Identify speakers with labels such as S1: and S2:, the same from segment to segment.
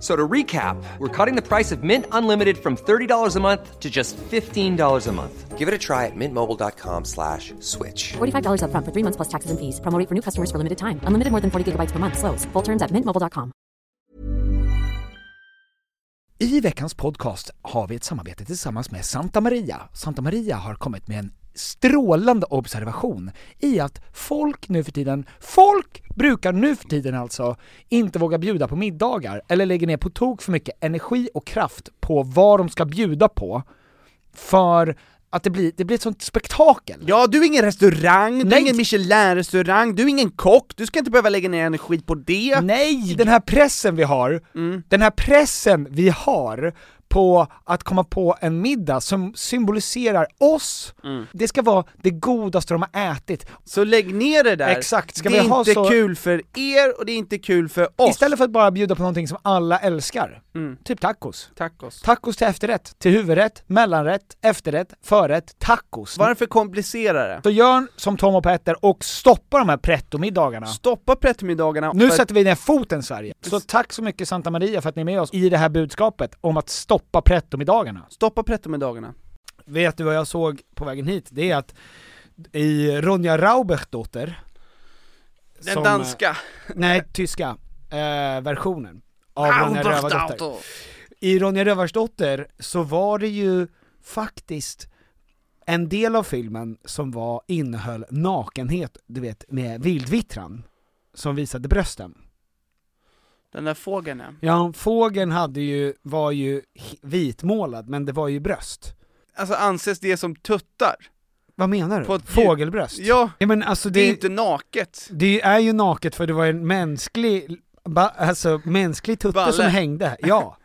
S1: So to recap, we're cutting the price of Mint Unlimited from $30 a month to just $15 a month. Give it a try at mintmobile.com slash switch.
S2: $45 upfront for three months plus taxes and fees. Promo rate for new customers for limited time. Unlimited more than 40 gigabytes per month. Slows. Full terms at mintmobile.com.
S3: I veckans podcast har vi ett samarbete tillsammans med Santa Maria. Santa Maria har kommit med en strålande observation i att folk nu för tiden, folk brukar nu för tiden alltså inte våga bjuda på middagar eller lägger ner på tok för mycket energi och kraft på vad de ska bjuda på för att det blir, det blir ett sånt spektakel.
S4: Ja, du är ingen restaurang, du är
S3: Nej.
S4: ingen Michelin-restaurang, du är ingen kock, du ska inte behöva lägga ner energi på det.
S3: Nej! Den här pressen vi har, den här pressen vi har på att komma på en middag som symboliserar oss, det ska vara det godaste de har ätit.
S4: Så lägg ner det där.
S3: Exakt, ska
S4: det är
S3: vi ha
S4: inte
S3: så-
S4: kul för er och det är inte kul för oss.
S3: Istället för att bara bjuda på någonting som alla älskar, typ tacos.
S4: Tacos.
S3: Tacos till efterrätt, till huvudrätt, mellanrätt, efterrätt, förrätt, tacos.
S4: Varför komplicera det?
S3: Så gör som Tom och Petter och stoppa de här pretto-middagarna.
S4: Stoppa pretto-middagarna.
S3: Nu
S4: för att-
S3: sätter vi ner foten Sverige. Så tack så mycket Santa Maria för att ni är med oss i det här budskapet om att stoppa pretto-middagarna.
S4: Stoppa pretto-middagarna.
S3: Vet du vad jag såg på vägen hit? Det är att i Ronja Raubechdotter
S4: Den
S3: som- eh,
S4: danska.
S3: Nej, tyska eh, versionen av Ronja Rövardotter I Ronja Rövardotter så var det ju faktiskt en del av filmen som var, innehöll nakenhet, du vet, med vildvittran som visade brösten.
S4: Den där fågeln ja.
S3: Ja, fågeln hade ju, var ju h- vitmålad, men det var ju bröst.
S4: Alltså anses det som tuttar?
S3: Vad menar du?
S4: På ett djur-
S3: Fågelbröst?
S4: Ja,
S3: ja men alltså
S4: det är
S3: det,
S4: ju inte naket.
S3: Det är ju naket för det var en mänsklig, ba, alltså mänsklig tutte
S4: Balle.
S3: som hängde, ja.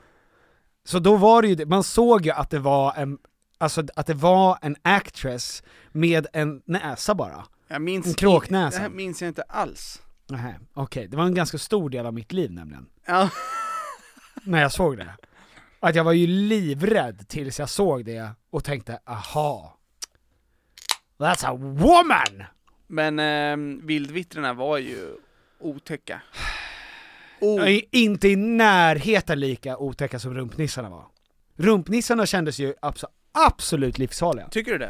S3: Så då var det ju, det- man såg ju att det var en, alltså att det var en actress med en näsa bara.
S4: Jag minns
S3: En kråknäsa.
S4: Det här minns jag inte alls.
S3: Nähä, okej, det var en ganska stor del av mitt liv nämligen,
S4: Ja.
S3: när jag såg det. Att jag var ju livrädd tills jag såg det och tänkte, aha. That's a woman!
S4: Men eh, vildvittrarna var ju otäcka. Oh.
S3: Jag är inte i närheten lika otäcka som rumpnissarna var. Rumpnissarna kändes ju abso- absolut livsfarliga.
S4: Tycker du det? Är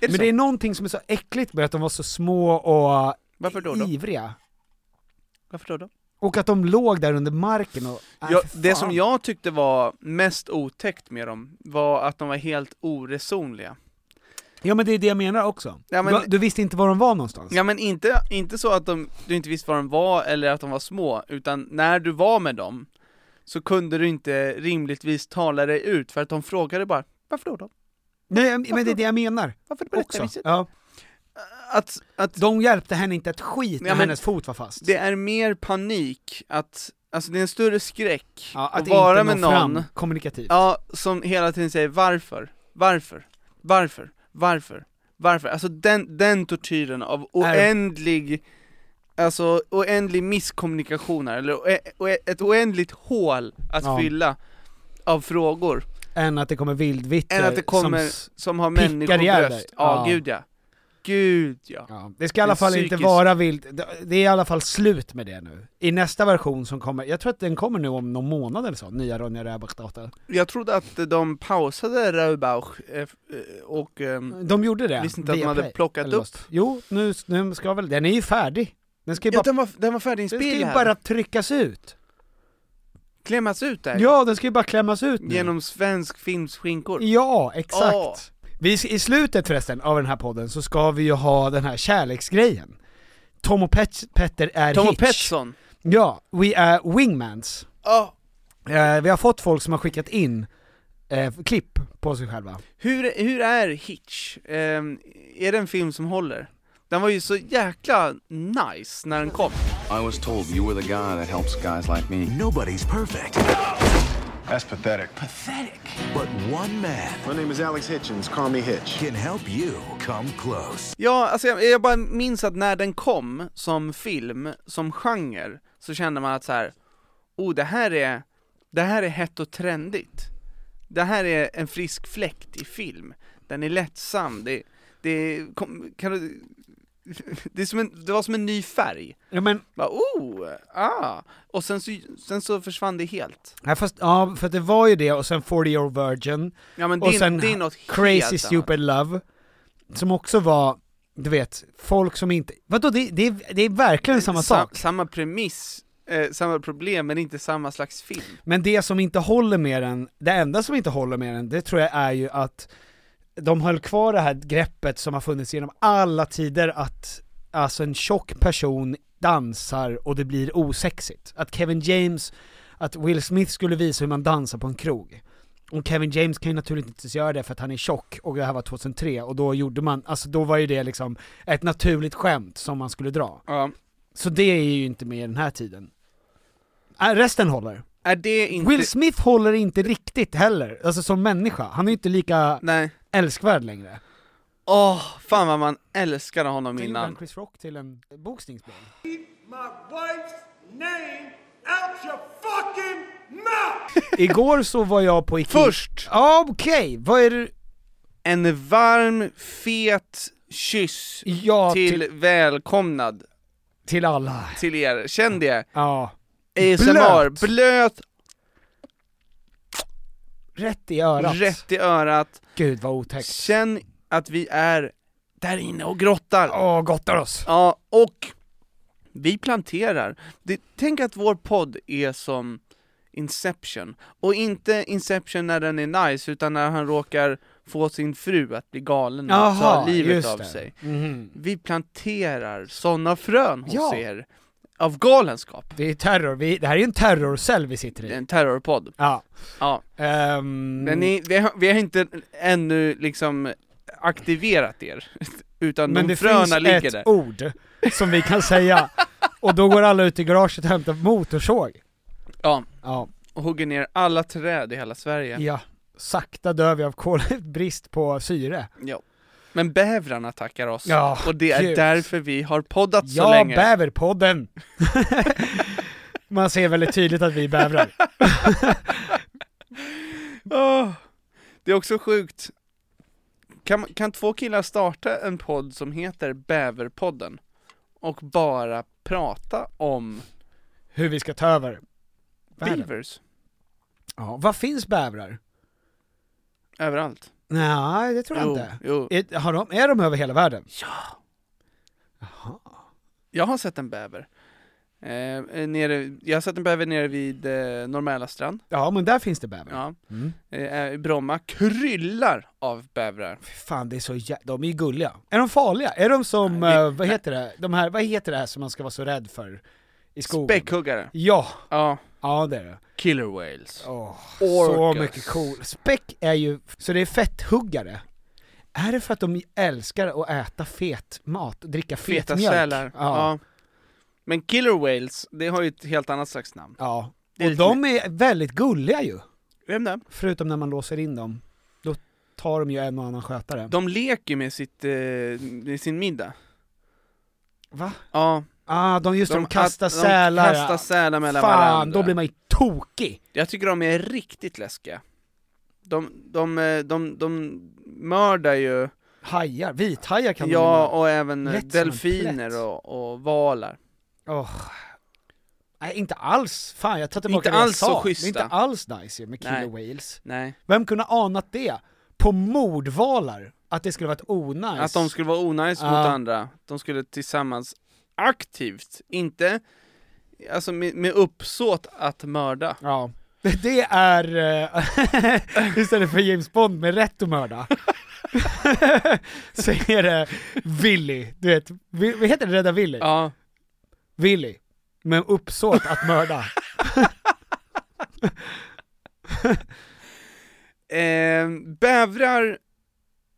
S4: det
S3: Men
S4: så?
S3: det är någonting som är så äckligt med att de var så små och
S4: Varför då då?
S3: ivriga.
S4: Varför då? då?
S3: Och att de låg där under marken och... Äh,
S4: Ja,
S3: för
S4: det
S3: fan.
S4: som jag tyckte var mest otäckt med dem var att de var helt oresonliga.
S3: Ja men det är det jag menar också.
S4: Ja, men-
S3: du, du visste inte var de var någonstans.
S4: Ja men inte, inte så att de, du inte visste var de var eller att de var små, utan när du var med dem så kunde du inte rimligtvis tala dig ut för att de frågade bara varför då? då?
S3: Nej men det är det jag menar.
S4: Varför på detta
S3: Också.
S4: viset?
S3: Ja.
S4: Att, att
S3: De hjälpte henne inte ett skit när
S4: Ja, men-
S3: hennes fot var fast.
S4: det är mer panik, att, alltså det är en större skräck
S3: ja, att
S4: att vara
S3: inte
S4: med
S3: nå
S4: någon
S3: fram kommunikativt.
S4: Ja, som hela tiden säger varför, varför, varför, varför, varför. Alltså den, den tortyren av oändlig, alltså oändlig misskommunikation här, eller oä, oä, ett oändligt hål att
S3: Ja.
S4: fylla av frågor,
S3: Än att det kommer vildvittror
S4: än att det
S3: som
S4: kommer,
S3: s-
S4: som, har
S3: pickar ihjäl
S4: människobröst.
S3: dig.
S4: Ja,
S3: Ja.
S4: gud ja. Gud ja.
S3: Ja, det ska i alla
S4: En
S3: fall inte
S4: psykisk-
S3: vara vilt, det- det är i alla fall slut med det nu. I nästa version som kommer, jag tror att den kommer nu om någon månad eller så, nya Ronja Rövardotter.
S4: Jag trodde att de pausade Raubauch eh, f- eh, och ehm,
S3: De gjorde det.
S4: Visste inte att
S3: via
S4: de hade
S3: Play,
S4: plockat
S3: eller
S4: upp.
S3: Lost. Jo, nu, nu ska väl, den är ju färdig. Den ska ju
S4: Ja,
S3: bara,
S4: den var, den var
S3: den ska ju
S4: färdiginspelad!
S3: bara tryckas ut.
S4: Klämmas ut där!
S3: Ja, den ska ju bara klämmas ut nu.
S4: Genom svensk films skinkor.
S3: Ja, exakt.
S4: Åh.
S3: Vi, I slutet förresten av den här podden så ska vi ju ha den här kärleksgrejen. Tom och Pet- Petter är
S4: Tom och
S3: Hitch.
S4: Pettersson.
S3: Ja, we är wingmans.
S4: Ja.
S3: Eh, vi har fått folk som har skickat in eh, klipp på sig själva.
S4: Hur, hur är Hitch? Ehm, är det en film som håller? Den var ju så jäkla nice när den kom.
S5: I was told you were the guy that helps guys like me.
S6: Nobody's perfect,
S7: That's pathetic.
S6: but one man
S7: My name is Alex Hitchens. Call me Hitch.
S6: can help you come close.
S4: Ja, alltså jag, jag bara minns att när den kom som film, som genre, så kände man att så här. oh det här är, det här är hett och trendigt. Det här är en frisk fläkt i film. Den är lättsam, det, det, kom, kan du, det, är som en, det var som en ny färg.
S3: Ja men,
S4: Bara, oh, ah! Och sen så, sen så försvann det helt.
S3: ja, fast, ja för att det var ju det och sen 40 year virgin
S4: Ja men det,
S3: och
S4: är-
S3: sen
S4: det är något helt
S3: Crazy
S4: annat.
S3: Stupid Love, som också var, du vet, folk som inte, vadå det, det, är- det är verkligen samma
S4: Sam-
S3: sak,
S4: Samma premiss, eh, samma problem men inte samma slags film.
S3: men det som inte håller med den, det enda som inte håller med den, det tror jag är ju att de höll kvar det här greppet som har funnits genom alla tider att, alltså en tjock person dansar och det blir osexigt. Att Kevin James, att Will Smith skulle visa hur man dansar på en krog. Och Kevin James kan ju naturligtvis inte göra det för att han är tjock, och det här var 2003, och då gjorde man, alltså då var ju det liksom ett naturligt skämt som man skulle dra.
S4: Ja.
S3: Så det är ju inte med i den här tiden. Äh, resten håller.
S4: Är det inte...
S3: Will Smith håller inte riktigt heller, alltså som människa. Han är ju inte lika
S4: Nej.
S3: älskvärd längre.
S4: Åh, fan vad man älskade honom
S3: Till
S4: innan.
S3: Chris Rock till en boxningsboll. Igår så var jag på Ikea...
S4: Först!
S3: Ja okej, vad är det...
S4: En varm, fet kyss
S3: Ja, typ. till,
S4: till,
S3: till,
S4: välkomnad
S3: alla.
S4: till er. Känn det.
S3: Ja.
S4: ASMR,
S3: Blöt.
S4: blöt,
S3: Rätt i örat.
S4: rätt i örat.
S3: Gud vad otäckt.
S4: Känn att vi är där inne och grottar.
S3: Åh, gottar oss.
S4: Ja, och vi planterar. Det, tänk att vår podd är som Inception. Och inte Inception när den är nice, utan när han råkar få sin fru att bli galen och ta
S3: Jaha,
S4: livet
S3: just
S4: av
S3: det.
S4: sig.
S3: Mhm.
S4: Vi planterar sådana frön hos
S3: Ja.
S4: er. Av galenskap.
S3: Det är terror, vi, det här är ju en terrorcell vi sitter
S4: Det
S3: i.
S4: är En terrorpodd.
S3: Ja.
S4: Ja.
S3: Ehm,
S4: Men ni, vi, har, vi har inte ännu liksom aktiverat er. Utan
S3: men
S4: de
S3: det finns
S4: fröna ligger
S3: ett
S4: där.
S3: ord som vi kan säga, och då går alla ut i garaget och hämtar motorsåg.
S4: Ja,
S3: Ja,
S4: och hugger ner alla träd i hela Sverige.
S3: ja. Sakta dör vi av kolbrist på syre.
S4: Ja. Men bävrarna tackar oss,
S3: Ja,
S4: och det är
S3: gud.
S4: därför vi har poddat så
S3: Ja,
S4: länge.
S3: bäverpodden! Man ser väldigt tydligt att vi är bävrar.
S4: Åh, det är också sjukt. Kan, kan två killar starta en podd som heter Bäverpodden och bara prata om
S3: Hur vi ska ta över. Världen.
S4: beavers
S3: Ja, vad finns bävrar?
S4: överallt?
S3: Nej, det tror jag inte.
S4: jo.
S3: Är, har de, är de över hela världen?
S4: Jag har sett en bäver. Eh, nere, jag har sett en bäver nere vid eh, Norr strand.
S3: Ja, men där finns det bävrar.
S4: Ja.
S3: Mm.
S4: Eh, Bromma kryllar av bävrar.
S3: Fy Fan, det är så jä... de är ju gulliga. Är de farliga? Är de som,
S4: Nej, det-
S3: eh, vad heter det, de här, vad heter det här som man ska vara så rädd för i skogen?
S4: Späckhuggare.
S3: Ja,
S4: Ja.
S3: ja det är det.
S4: Killer whales.
S3: Åh, så
S4: Orcas.
S3: mycket cool. Späck är ju, så det är fetthuggare. Är det för att de älskar att äta fet mat, och dricka fet
S4: Feta
S3: mjölk?
S4: sälar. Ja.
S3: Ja.
S4: Men killer whales, det har ju ett helt annat slags namn.
S3: ja.
S4: Det är
S3: Och
S4: lite-
S3: de är väldigt gulliga ju,
S4: Vem det?
S3: förutom när man låser in dem. Då tar de ju en och annan skötare.
S4: De leker med, sitt, eh, med sin middag.
S3: Va?
S4: Ja,
S3: Ah, de just de, de kastar
S4: att-
S3: sälar.
S4: De kastar sälar mellan
S3: Fan,
S4: varandra.
S3: då blir man ju tokig!
S4: Jag tycker de är riktigt läskiga. De, de, eh, de, de mördar ju,
S3: Hajar, vithajar kan
S4: ja
S3: de
S4: och även eh,
S3: Lätt som en plätt.
S4: delfiner och, och valar.
S3: ju... Åh. Nej inte alls, fan jag tar tillbaka
S4: Inte
S3: det jag
S4: alls så
S3: sa.
S4: schyssta.
S3: Det är inte alls nice ju med killer
S4: Nej.
S3: whales.
S4: Nej,
S3: Vem kunde ha anat det? På mordvalar? Att det skulle varit onajs?
S4: att de skulle vara onajs mot
S3: Ja.
S4: andra. De skulle tillsammans aktivt, inte alltså med, med uppsåt att mörda.
S3: Ja. Det är, eh, istället för James Bond med rätt att mörda, så är det Willy, du vet, Vi- vad heter det, Rädda Willy?
S4: Ja,
S3: Willy, med uppsåt att mörda.
S4: Eh, bävrar,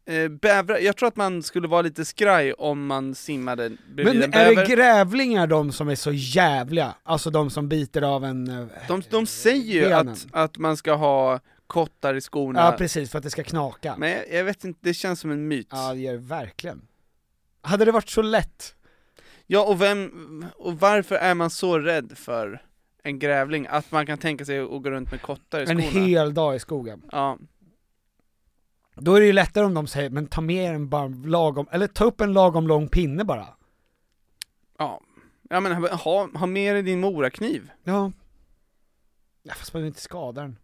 S4: eh, bävrar, jag tror att man skulle vara lite skraj om man simmade bredvid en
S3: Men är
S4: bäver.
S3: det grävlingar de som är så jävliga? Alltså de som biter av en... eh,
S4: de, de säger ju
S3: benen?
S4: att, att man ska ha kottar i skorna,
S3: Ja precis, för att det ska knaka.
S4: men jag, jag vet inte, det känns som en myt.
S3: Ja det gör det verkligen. Hade det varit så lätt?
S4: Ja, och vem, och varför är man så rädd för en grävling, att man kan tänka sig att gå runt med kottar i
S3: En
S4: skorna.
S3: hel dag i skogen.
S4: Ja,
S3: Då är det ju lättare om de säger, men ta med en bara lagom, eller ta upp en lagom lång pinne bara.
S4: ja. Ja men ha- ha, ha med dig din morakniv,
S3: Ja. Ja fast man vill inte skada den.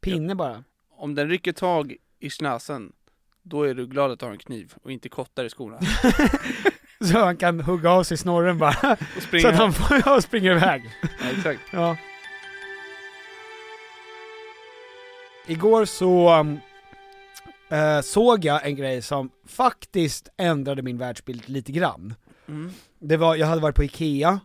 S3: Pinne bara.
S4: om den rycker tag i snasen, då är du glad att du har en kniv och inte kottar i skorna.
S3: Så han kan hugga av sig snorren bara.
S4: Och springer.
S3: Så att han får, ja, springer iväg.
S4: ja, exakt.
S3: Ja. Igår så um, eh, såg jag en grej som faktiskt ändrade min världsbild lite grann.
S4: Mm.
S3: Det var, jag hade varit på Ikea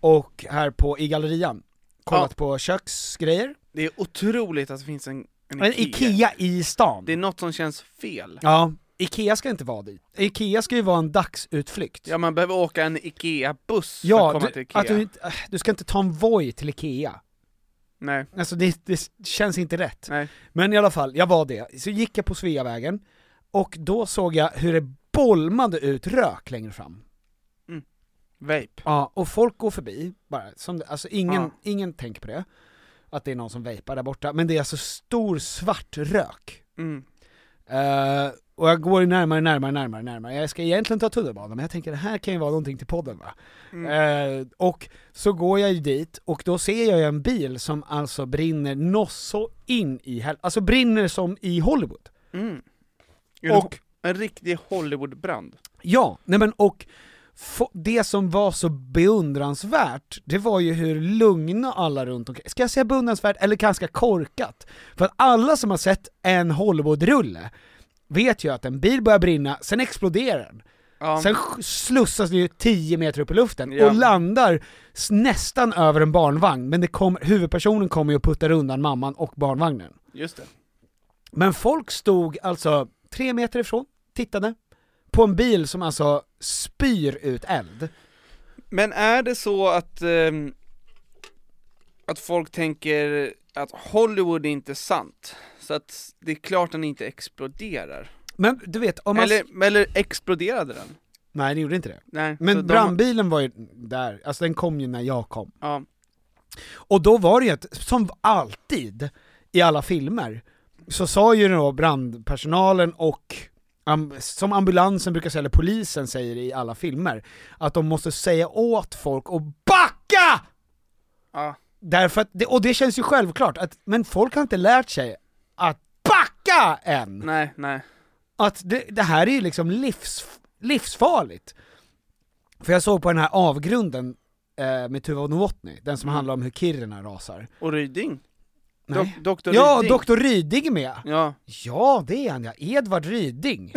S3: och här på, i gallerian, kollat
S4: Ja.
S3: på köksgrejer.
S4: Det är otroligt att det finns en, en
S3: Men Ikea i stan.
S4: Det är något som känns fel.
S3: Ja, Ikea ska inte vara dit. Ikea ska ju vara en dagsutflykt.
S4: Ja, man behöver åka en IKEA-buss för att
S3: Ja,
S4: komma till
S3: du,
S4: IKEA.
S3: att du, inte- äh, du ska inte ta en Voi till Ikea.
S4: Nej,
S3: Alltså det, det känns inte rätt.
S4: nej.
S3: Men i alla fall, jag var det. Så gick jag på Sveavägen, och då såg jag hur det bolmade ut rök längre fram.
S4: Vape.
S3: Ja, och folk går förbi, bara, som, det- alltså ingen,
S4: Ja.
S3: ingen tänker på det. Att det är någon som vejpar där borta, men det är alltså stor svart rök.
S4: Mm.
S3: Eh, och jag går ju närmare, närmare, närmare, närmare. Jag ska egentligen ta tunnelbanan, men jag tänker det här kan ju vara någonting till podden va?
S4: Mm.
S3: Eh, och så går jag ju dit, och då ser jag ju en bil som alltså brinner nosso in i hel- alltså brinner som i Hollywood.
S4: Och
S3: Och-
S4: en riktig Hollywoodbrand.
S3: Ja, nej men och få- det som var så beundransvärt, det var ju hur lugna alla runt omkring, ska jag säga beundransvärt eller ganska korkat? För att alla som har sett en Hollywood-rulle vet ju att en bil börjar brinna, sen exploderar den.
S4: Ja.
S3: Sen sk- slussas det ju 10 meter upp i luften
S4: Ja.
S3: och landar s- nästan över en barnvagn, men det kom, huvudpersonen kommer ju och puttar undan mamman och barnvagnen.
S4: Just det.
S3: Men folk stod alltså tre meter ifrån, tittade, på en bil som alltså spyr ut eld.
S4: Men är det så att, ehm, att folk tänker att Hollywood är inte sant? Så att det är klart den inte exploderar.
S3: Men du vet, om man...
S4: Eller, eller exploderade den?
S3: Nej, det gjorde inte det.
S4: Nej. så
S3: Men
S4: de-
S3: brandbilen var ju där, alltså den kom ju när jag kom.
S4: Ja.
S3: Och då var det ju ett, som alltid i alla filmer, så sa ju då brandpersonalen och am- som ambulansen brukar säga, eller polisen säger i alla filmer, att de måste säga åt folk att BACKA!
S4: Ja.
S3: Därför att det, och det känns ju självklart, att, men folk har inte lärt sig att BACKA än!
S4: Nej, nej.
S3: att det, det här är ju liksom livs, livsfarligt. För jag såg på den här avgrunden eh, med Tuva Novotny, den som handlar om hur Kiruna rasar.
S4: Och Ryding?
S3: Nej.
S4: Mm. Dok- Dr.
S3: ja,
S4: Ryding?
S3: Dr. Ryding är med!
S4: Ja.
S3: Ja, det är han ja, Edvard Ryding.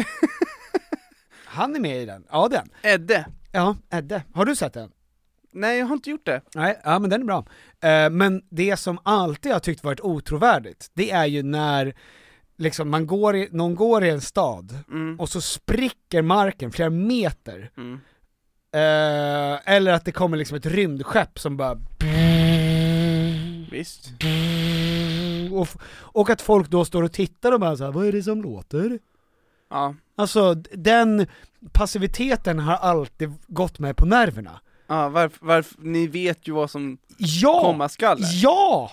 S3: han är med i den, ja den.
S4: Edde?
S3: Ja, Edde. Har du sett den?
S4: Nej, jag har inte gjort det.
S3: Nej, ja men den är bra. Eh, men det som alltid har tyckt varit otrovärdigt, det är ju när liksom man går i, någon går i en stad
S4: Mm.
S3: och så spricker marken flera meter. Eh, eller att det kommer liksom ett rymdskepp som bara
S4: Visst.
S3: och, f- och att folk då står och tittar och bara såhär, vad är det som låter?
S4: Ja.
S3: Alltså d- den passiviteten har alltid gått mig på nerverna.
S4: Ja, varf, varf, ni vet ju vad som,
S3: Ja!
S4: Komma skall.
S3: Ja!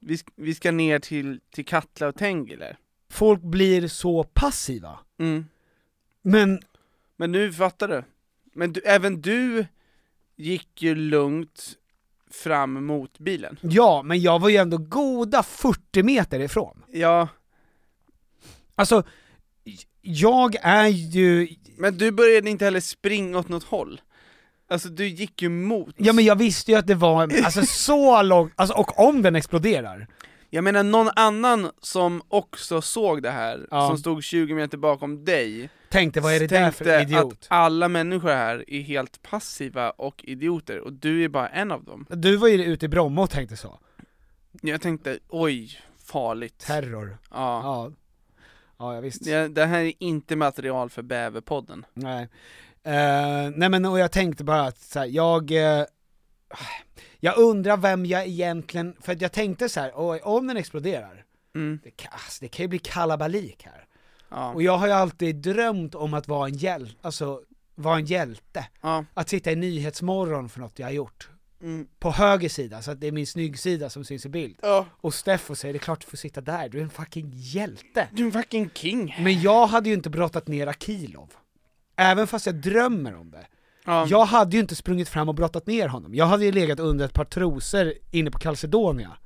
S4: vi, sk- vi ska ner till, till Katla och Tengile.
S3: Folk blir så passiva.
S4: Mm.
S3: Men
S4: Men nu fattar du. Men du, även du gick ju lugnt fram mot bilen.
S3: Ja, men jag var ju ändå goda 40 meter ifrån.
S4: Ja,
S3: Alltså, j- jag är ju...
S4: men du började inte heller springa åt något håll. Alltså du gick ju mot.
S3: Ja men jag visste ju att det var, en- alltså så långt, alltså, och om den exploderar.
S4: Jag menar någon annan som också såg det här,
S3: Ja.
S4: som stod 20 meter bakom dig,
S3: Tänkte vad är det där
S4: tänkte
S3: för idiot?
S4: att alla människor här är helt passiva och idioter, och du är bara en av dem.
S3: Du var ju ute i Bromma och tänkte så.
S4: Jag tänkte, oj, farligt.
S3: Terror.
S4: Ja.
S3: Ja. Ja, ja visst.
S4: Det, det här är inte material för Bäverpodden.
S3: Nej. Eh, nej men och jag tänkte bara att så här, jag, eh, jag undrar vem jag egentligen, för att jag tänkte så här, oj, om den exploderar, det, kan, alltså, det kan ju bli kalabalik här.
S4: Mm. Ja.
S3: Och jag har ju alltid drömt om att vara en hjälte, alltså vara en hjälte.
S4: Ja.
S3: Att sitta i Nyhetsmorgon för något jag har gjort.
S4: Mm.
S3: på höger sida, så att det är min snygg sida som syns i bild.
S4: Ja.
S3: Och Steffo säger det är klart du får sitta där, du är en fucking hjälte.
S4: Du är en fucking king.
S3: Men jag hade ju inte brottat ner Akilov. Även fast jag drömmer om det.
S4: Ja.
S3: Jag hade ju inte sprungit fram och brottat ner honom, jag hade ju legat under ett par trosor inne på Calcedonia.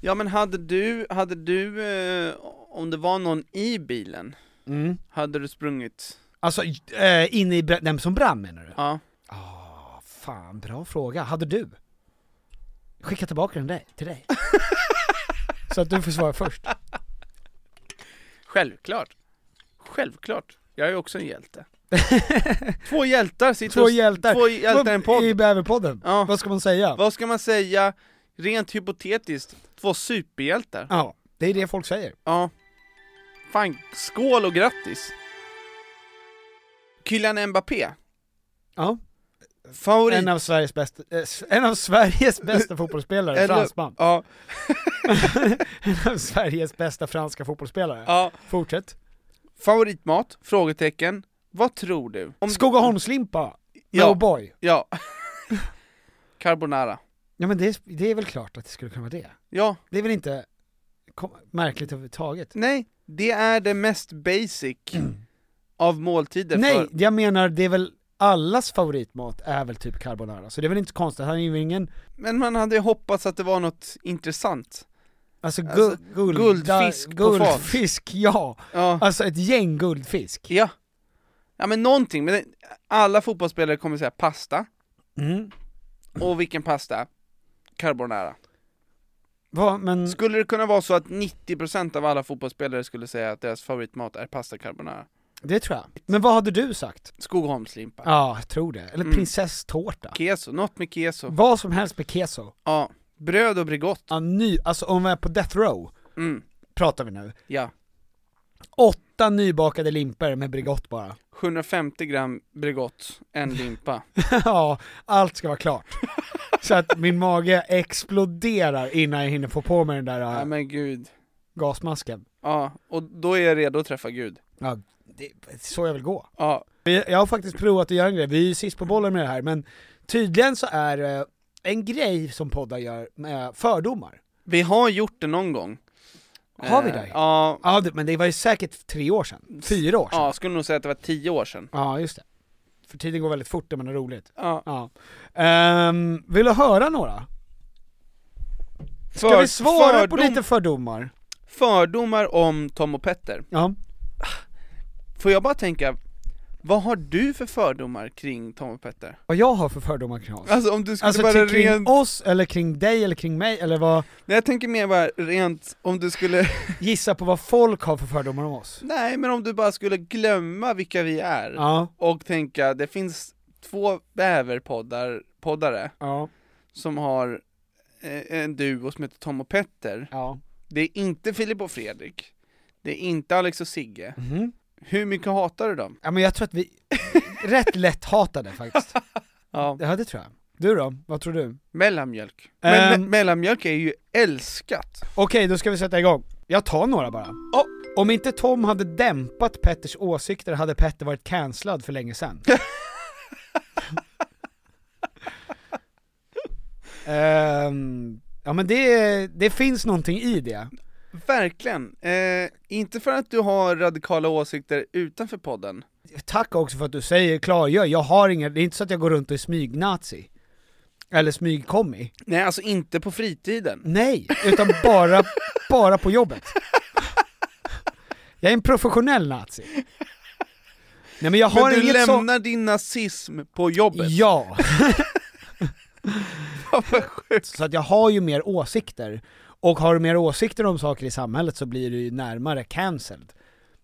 S4: ja men hade du, hade du, eh, om det var någon i bilen,
S3: Mm.
S4: hade du sprungit?
S3: Alltså, eh, inne i br- den som brann menar du?
S4: Ja.
S3: Ah, fan, bra fråga. Hade du? Skicka tillbaka den där, till dig. Så att du får svara först.
S4: Självklart. Självklart. Jag är också en hjälte. Två hjältar sitter
S3: Två
S4: och-
S3: hjältar.
S4: Två hjältar i en podd.
S3: I Bäverpodden.
S4: Ja.
S3: Vad ska man säga?
S4: Vad ska man säga, rent hypotetiskt, två superhjältar?
S3: Ja, det är det folk säger.
S4: Ja. Fan, skål och grattis! Kylian Mbappé,
S3: Ja.
S4: favorit...
S3: En av Sveriges bästa, eh, s- en av Sveriges bästa fotbollsspelare,
S4: eller-
S3: fransman.
S4: Ja,
S3: En av Sveriges bästa franska fotbollsspelare.
S4: ja.
S3: Fortsätt.
S4: Favoritmat? Frågetecken. Vad tror du? Om...
S3: Skogaholmslimpa,
S4: Ja.
S3: no boy.
S4: Ja. Carbonara.
S3: Ja men det, är- det är väl klart att det skulle kunna vara det.
S4: Ja,
S3: Det är väl inte kom, märkligt överhuvudtaget.
S4: nej. Det är det mest basic av måltider
S3: Mm. Nej,
S4: för...
S3: jag menar det är väl allas favoritmat är väl typ carbonara, så det är väl inte så konstigt, han är ju ingen,
S4: Men man hade ju hoppats att det var något intressant.
S3: alltså, gu,
S4: Alltså,
S3: guld,
S4: guldfisk på fat.
S3: Guldfisk, ja!
S4: Ja.
S3: Alltså ett gäng guldfisk.
S4: Ja. Ja men någonting, men det- alla fotbollsspelare kommer säga pasta.
S3: Mm.
S4: Och vilken pasta? Carbonara.
S3: Mm. Va, men,
S4: Skulle det kunna vara så att 90% av alla fotbollsspelare skulle säga att deras favoritmat är pasta carbonara?
S3: det tror jag. Men vad hade du sagt?
S4: Skogholmslimpa.
S3: Ja, jag tror det.
S4: Mm.
S3: Eller prinsesstårta.
S4: Keso, något med keso.
S3: Vad som helst med keso.
S4: Ja. Bröd och Bregott.
S3: Ja, ny, alltså om vi är på death row,
S4: Mm.
S3: pratar vi nu.
S4: Ja.
S3: Åtta nybakade limpor med Bregott bara.
S4: 750 gram Bregott, en limpa.
S3: ja, allt ska vara klart. Så att min mage exploderar innan jag hinner få på mig den där
S4: Ja
S3: äh,
S4: men gud.
S3: gasmasken.
S4: Ja, och då är jag redo att träffa Gud.
S3: Ja, det det är så jag vill gå.
S4: Ja.
S3: Vi- Jag har faktiskt provat att göra en grej, vi är ju sist på bollen med det här, men tydligen så är eh, en grej som poddar gör med fördomar.
S4: Vi har gjort det någon gång.
S3: Har vi
S4: Eh,
S3: det?
S4: Ja.
S3: Ja, det- men det var ju säkert tre år sedan, fyra år sedan.
S4: Ja, skulle nog säga att det var 10 år sedan.
S3: Ja, just det. För tiden går väldigt fort när man har roligt.
S4: Ja.
S3: Ja. Ehm, vill du höra några? Ska vi svara på
S4: fördom-
S3: lite fördomar?
S4: Fördomar om Tom och Petter.
S3: Ja.
S4: Får jag bara tänka, vad har du för fördomar kring Tom och Petter?
S3: Vad jag har för fördomar kring oss?
S4: Alltså om du skulle
S3: Alltså
S4: vara
S3: till, kring
S4: rent,
S3: oss, eller kring dig, eller kring mig, eller vad,
S4: nej jag tänker mer bara rent, om du skulle,
S3: gissa på vad folk har för fördomar om oss.
S4: nej men om du bara skulle glömma vilka vi är
S3: Ja,
S4: och tänka, det finns två bäverpoddar, poddare
S3: ja,
S4: som har eh, en duo som heter Tom och Petter.
S3: ja.
S4: Det är inte Filip och Fredrik, det är inte Alex och Sigge.
S3: Mhm.
S4: Hur mycket hatar du dem?
S3: Ja men jag tror att vi, rätt lätt hatade faktiskt.
S4: Ja.
S3: Ja det tror jag. Du då? Vad tror du?
S4: Mellanmjölk. Men
S3: Ehm.
S4: me- mellanmjölk är ju älskat.
S3: Okej, då ska vi sätta igång. Jag tar några bara.
S4: Ja.
S3: Om inte Tom hade dämpat Petters åsikter hade Petter varit cancellad för länge sedan. Ehm, ja men det, det finns någonting i det.
S4: Verkligen. Eh, inte för att du har radikala åsikter utanför podden.
S3: Tack också för att du säger klargör, jag har inga, det är inte så att jag går runt och är smygnazi. Eller smygkommi.
S4: Nej, alltså inte på fritiden.
S3: Nej, utan bara, bara på jobbet. Jag är en professionell nazi. Nej men jag har
S4: Men du
S3: inget
S4: lämnar din nazism på
S3: så...
S4: jobbet.
S3: Ja,
S4: Vad sjukt.
S3: så att jag har ju mer åsikter. Och har du mer åsikter om saker i samhället så blir du ju närmare cancelled.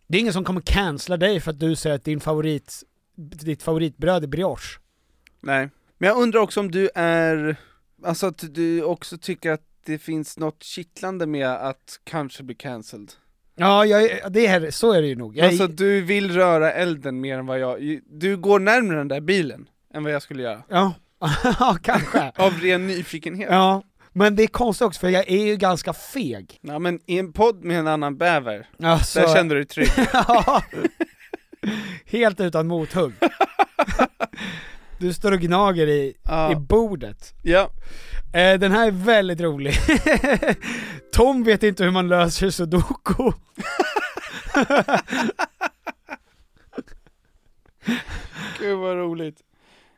S3: Det är ingen som kommer cancella dig för att du säger att din favorit, ditt favoritbröd är brioche.
S4: Nej. Men jag undrar också om du är, alltså att du också tycker att det finns något kittlande med att kanske bli cancelled.
S3: Ja, jag, är- det är, så är det ju nog. Jag,
S4: Alltså du vill röra elden mer än vad jag, du går närmare den där bilen än vad jag skulle göra.
S3: ja. ja, kanske.
S4: Av ren nyfikenhet.
S3: Ja, men det är konstigt också för jag är ju ganska feg.
S4: Ja men i en podd med en annan bäver,
S3: Alltså,
S4: där kände du dig trygg.
S3: Ja. Helt utan mothugg. Du står och gnager i,
S4: Ja.
S3: i bordet.
S4: Ja,
S3: Eh, den här är väldigt rolig. Tom vet inte hur man löser sudoku.
S4: gud vad roligt.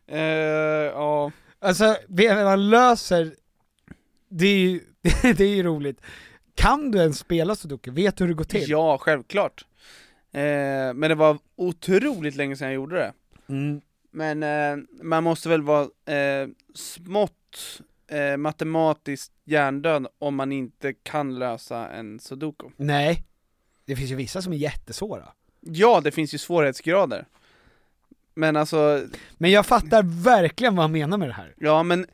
S4: Eh, ja,
S3: Alltså, vet hur man löser, det är ju, det är ju roligt. Kan du ens spela sudoku? Vet du hur det går till?
S4: ja självklart. Eh, men det var otroligt länge sedan jag gjorde det.
S3: Mm.
S4: Men eh, man måste väl vara eh, smått eh, matematiskt hjärndöd om man inte kan lösa en sudoku.
S3: Nej. Det finns ju vissa som är jättesvåra.
S4: Ja, det finns ju svårighetsgrader. Men alltså,
S3: Men jag fattar verkligen vad han menar med det här.
S4: ja men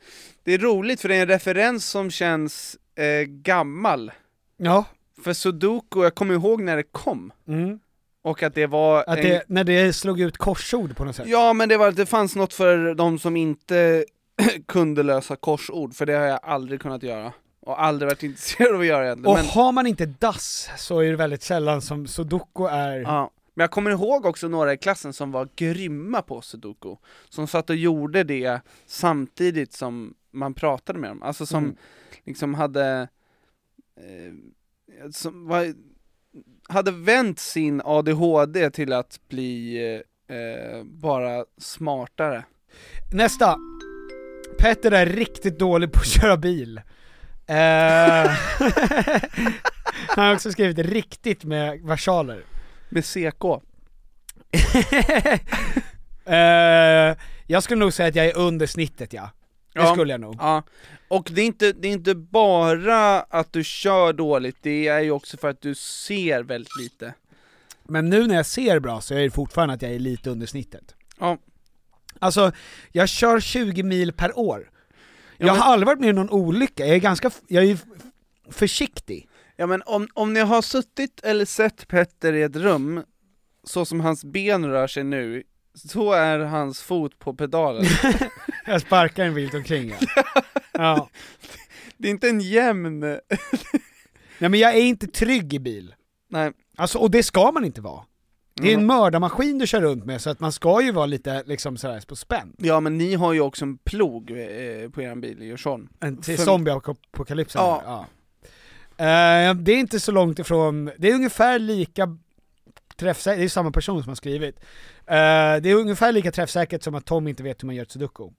S4: det är roligt för det är en referens som känns eh, gammal.
S3: Ja.
S4: För sudoku, jag kommer ihåg när det kom.
S3: Mm.
S4: Och att det var
S3: Att
S4: en...
S3: det, när det slog ut korsord på något sätt.
S4: Ja men det, var, det fanns något för de som inte kunde lösa korsord, för det har jag aldrig kunnat göra. Och aldrig varit intresserad av att göra egentligen.
S3: Och
S4: men...
S3: har man inte dass så är det väldigt sällan som sudoku är...
S4: Ja. Men jag kommer ihåg också några i klassen som var grymma på sudoku, som satt och gjorde det samtidigt som man pratade med dem, alltså som
S3: Mm.
S4: liksom hade, eh, som var, hade vänt sin ADHD till att bli eh, bara smartare.
S3: Nästa! Petter är riktigt dålig på att köra bil. Eh, han har också skrivit riktigt med versaler.
S4: Med CK.
S3: Eh, jag skulle nog säga att jag är under snittet ja. Det
S4: Ja.
S3: skulle jag nog.
S4: Ja, och det är, inte, det är inte bara att du kör dåligt, det är ju också för att du ser väldigt lite.
S3: Men nu när jag ser bra så är det fortfarande att jag är lite under snittet.
S4: Ja.
S3: Alltså, jag kör 20 mil per år. Jag
S4: men-
S3: har aldrig varit med i någon olycka, jag är ganska, f- jag är f- försiktig.
S4: Ja men om, om ni har suttit eller sett Petter i ett rum, så som hans ben rör sig nu, så är hans fot på pedalen.
S3: Jag sparkar en vilt omkring ja. ja.
S4: Det är inte en jämn...
S3: Nej men jag är inte trygg i bil.
S4: Nej.
S3: Alltså, och det ska man inte vara. Det är en
S4: Mm.
S3: mördarmaskin du kör runt med, så att man ska ju vara lite liksom sådär på spänn.
S4: Ja men ni har ju också en plog eh, på er bil i Djursholm.
S3: En till
S4: För-
S3: zombieapokalypsen.
S4: Ja.
S3: Ja. Eh, det är inte så långt ifrån, det är ungefär lika träffsäkert, det är samma person som har skrivit. Eh, det är ungefär lika träffsäkert som att Tom inte vet hur man gör ett sudoku.